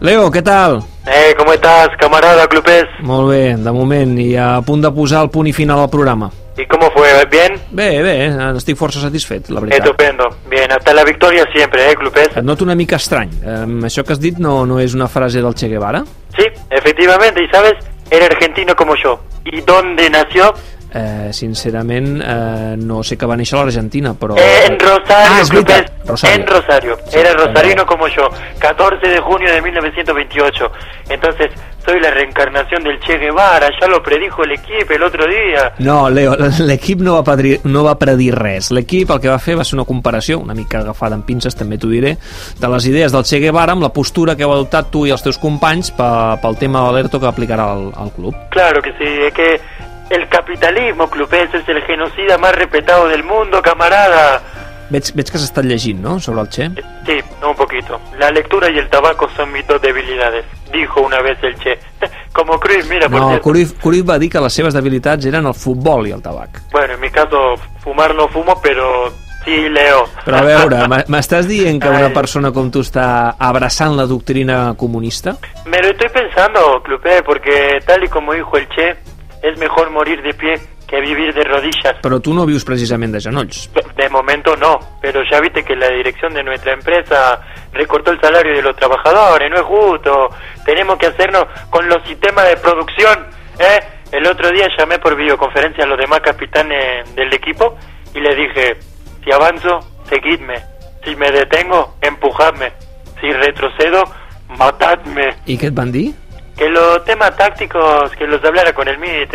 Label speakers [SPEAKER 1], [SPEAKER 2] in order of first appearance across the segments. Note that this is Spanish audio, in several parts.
[SPEAKER 1] Leo, què tal?
[SPEAKER 2] Eh, com estàs, camarada clubes?
[SPEAKER 1] Molt bé, de moment, i a punt de posar el punt i final al programa.
[SPEAKER 2] ¿Y cómo fue? ¿Bien?
[SPEAKER 1] Bé, bé, estic força satisfet, la veritat.
[SPEAKER 2] Estupendo. Bien, hasta la victoria siempre, ¿eh, clubes?
[SPEAKER 1] Et noto una mica estrany. Um, això que has dit no, no és una frase del Che Guevara?
[SPEAKER 2] Sí, efectivamente, y sabes, era argentino como yo. ¿Y dónde nació?
[SPEAKER 1] Eh, sincerament, eh, no sé que va néixer a l'Argentina, però...
[SPEAKER 2] Eh, En Rosario,
[SPEAKER 1] Ah, és
[SPEAKER 2] clubes.
[SPEAKER 1] veritat, Rosario.
[SPEAKER 2] En Rosario.
[SPEAKER 1] Sí,
[SPEAKER 2] era
[SPEAKER 1] també.
[SPEAKER 2] rosarino como yo. 14 de junio de 1928. Entonces, soy la reencarnación del Che Guevara. Ya lo predijo el equipo el otro día.
[SPEAKER 1] No, Leo, l'equip no, va predri, no va predir res. L'equip el que va fer va ser una comparació, una mica agafada amb pinces, també t'ho diré, de les idees del Che Guevara amb la postura que heu adoptat tu i els teus companys pe- pel tema de l'ERTO que aplicarà el, el club.
[SPEAKER 2] Claro que sí, es que el capitalismo, clubes, es el genocida más respetado del mundo, camarada.
[SPEAKER 1] Veig, veig que has estat llegint, no?, sobre el Che.
[SPEAKER 2] Sí, un poquito. La lectura y el tabaco son mis dos debilidades, dijo una vez el Che. Como Cruz, mira, por
[SPEAKER 1] No,
[SPEAKER 2] cierto.
[SPEAKER 1] Cruyff, Cruyff va dir que les seves debilitats eren el futbol i el tabac.
[SPEAKER 2] Bueno, en mi caso, fumar no fumo, pero sí leo.
[SPEAKER 1] Però a veure, m'ha- m'estàs dient que una
[SPEAKER 2] Ai.
[SPEAKER 1] persona com tu està abraçant la doctrina comunista?
[SPEAKER 2] Me lo estoy pensando, Clupe, porque tal y como dijo el Che, es mejor morir de pie que vivir de rodillas.
[SPEAKER 1] Però tu no vius precisament de genolls.
[SPEAKER 2] De momento no, pero ya viste que la dirección de nuestra empresa recortó el salario de los trabajadores, no es justo. Tenemos que hacernos con los sistemas de producción. ¿eh? El otro día llamé por videoconferencia a los demás capitanes del equipo y les dije, si avanzo, seguidme. Si me detengo, empujadme. Si retrocedo, matadme.
[SPEAKER 1] I què et van dir?
[SPEAKER 2] Que los temas tácticos, que los hablara con el MIT,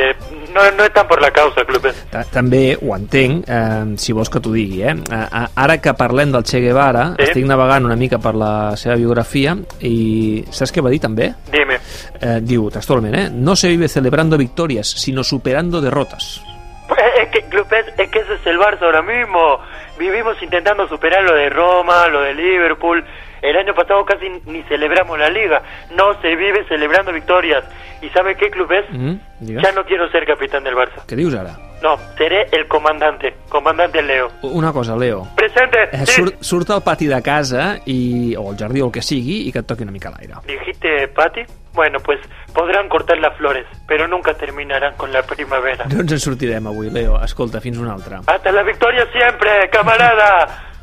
[SPEAKER 2] no, no están por la causa, clubes.
[SPEAKER 1] Ta- També ho entenc, eh, si vols que t'ho digui, eh? A- a- Ara que parlem del Che Guevara,
[SPEAKER 2] Sí.
[SPEAKER 1] estic navegant una mica per la seva biografia i saps què va dir també?
[SPEAKER 2] Dime.
[SPEAKER 1] Eh, diu textualment, eh? No se vive celebrando victorias, sino superando derrotas.
[SPEAKER 2] Pues, Es que, Clupez, es que ese es el Barça ahora mismo. Vivimos intentando superar lo de Roma, lo de Liverpool. El año pasado casi ni celebramos la liga. No se vive celebrando victorias. ¿Y sabe qué, Clupez?
[SPEAKER 1] Mm? Digues.
[SPEAKER 2] Ya no quiero ser capitán del Barça.
[SPEAKER 1] Què dius ara?
[SPEAKER 2] No, seré el comandante. Comandante Leo.
[SPEAKER 1] Una cosa, Leo.
[SPEAKER 2] Presente.
[SPEAKER 1] Eh,
[SPEAKER 2] sí.
[SPEAKER 1] surt, surt al pati de casa i, o al jardí o el que sigui i que et toqui una mica l'aire.
[SPEAKER 2] ¿Dijiste, Patti? Bueno, pues podrán cortar las flores, pero nunca terminarán con la primavera.
[SPEAKER 1] No ens en sortirem avui, Leo. Escolta, fins una altra.
[SPEAKER 2] Hasta la victoria siempre, camarada.